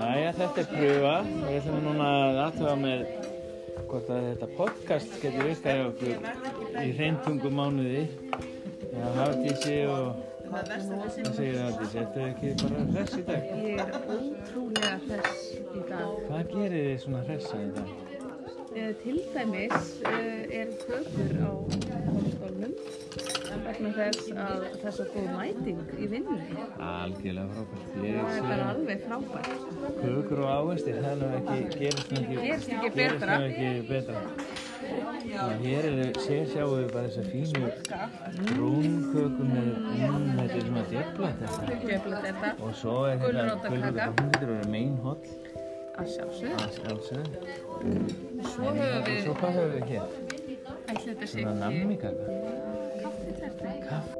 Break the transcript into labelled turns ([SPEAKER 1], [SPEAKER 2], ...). [SPEAKER 1] Jæja, þetta er prufa og við ætlum núna að aðtöfa með hvort að þetta podcast getur virkað hjá okkur í reyntungu mánuði Já, Hafdísi og hvað segir Hafdísi? Þetta er ekki bara hress í dag
[SPEAKER 2] Ég er ótrúlega hress í dag.
[SPEAKER 1] Hvað gerir þið svona hressa í dag?
[SPEAKER 2] Eh, Til dæmis eh, er kökur á hálfskólnum vegna þess að þess að góð mæting í vinnunni.
[SPEAKER 1] Algjörlega frábært
[SPEAKER 2] Það er bara
[SPEAKER 1] Ég
[SPEAKER 2] alveg frábært.
[SPEAKER 1] sé kökur og ávextir, það er nú ekki, gerist nú ekki
[SPEAKER 2] Gerist ekki
[SPEAKER 1] gerist
[SPEAKER 2] betra.
[SPEAKER 1] nú ekki betra Og hér eru, sér sjáum við bara þessa fínu brúnköku með, mm, þetta er svona djöfla þetta
[SPEAKER 2] Djöflat er það
[SPEAKER 1] Og svo er hérna
[SPEAKER 2] Gulrótarkaka.
[SPEAKER 1] gulrótakaka, hún getur að vera meinholl,
[SPEAKER 2] að sjálfsögðu.
[SPEAKER 1] að sjálfsögðu.
[SPEAKER 2] Svo höfum
[SPEAKER 1] Og
[SPEAKER 2] við
[SPEAKER 1] svo hvað höfum við hér?
[SPEAKER 2] ætlið þetta sé
[SPEAKER 1] Svona
[SPEAKER 2] ekki
[SPEAKER 1] nammikaka.
[SPEAKER 2] kaffitertu.
[SPEAKER 1] Kaff.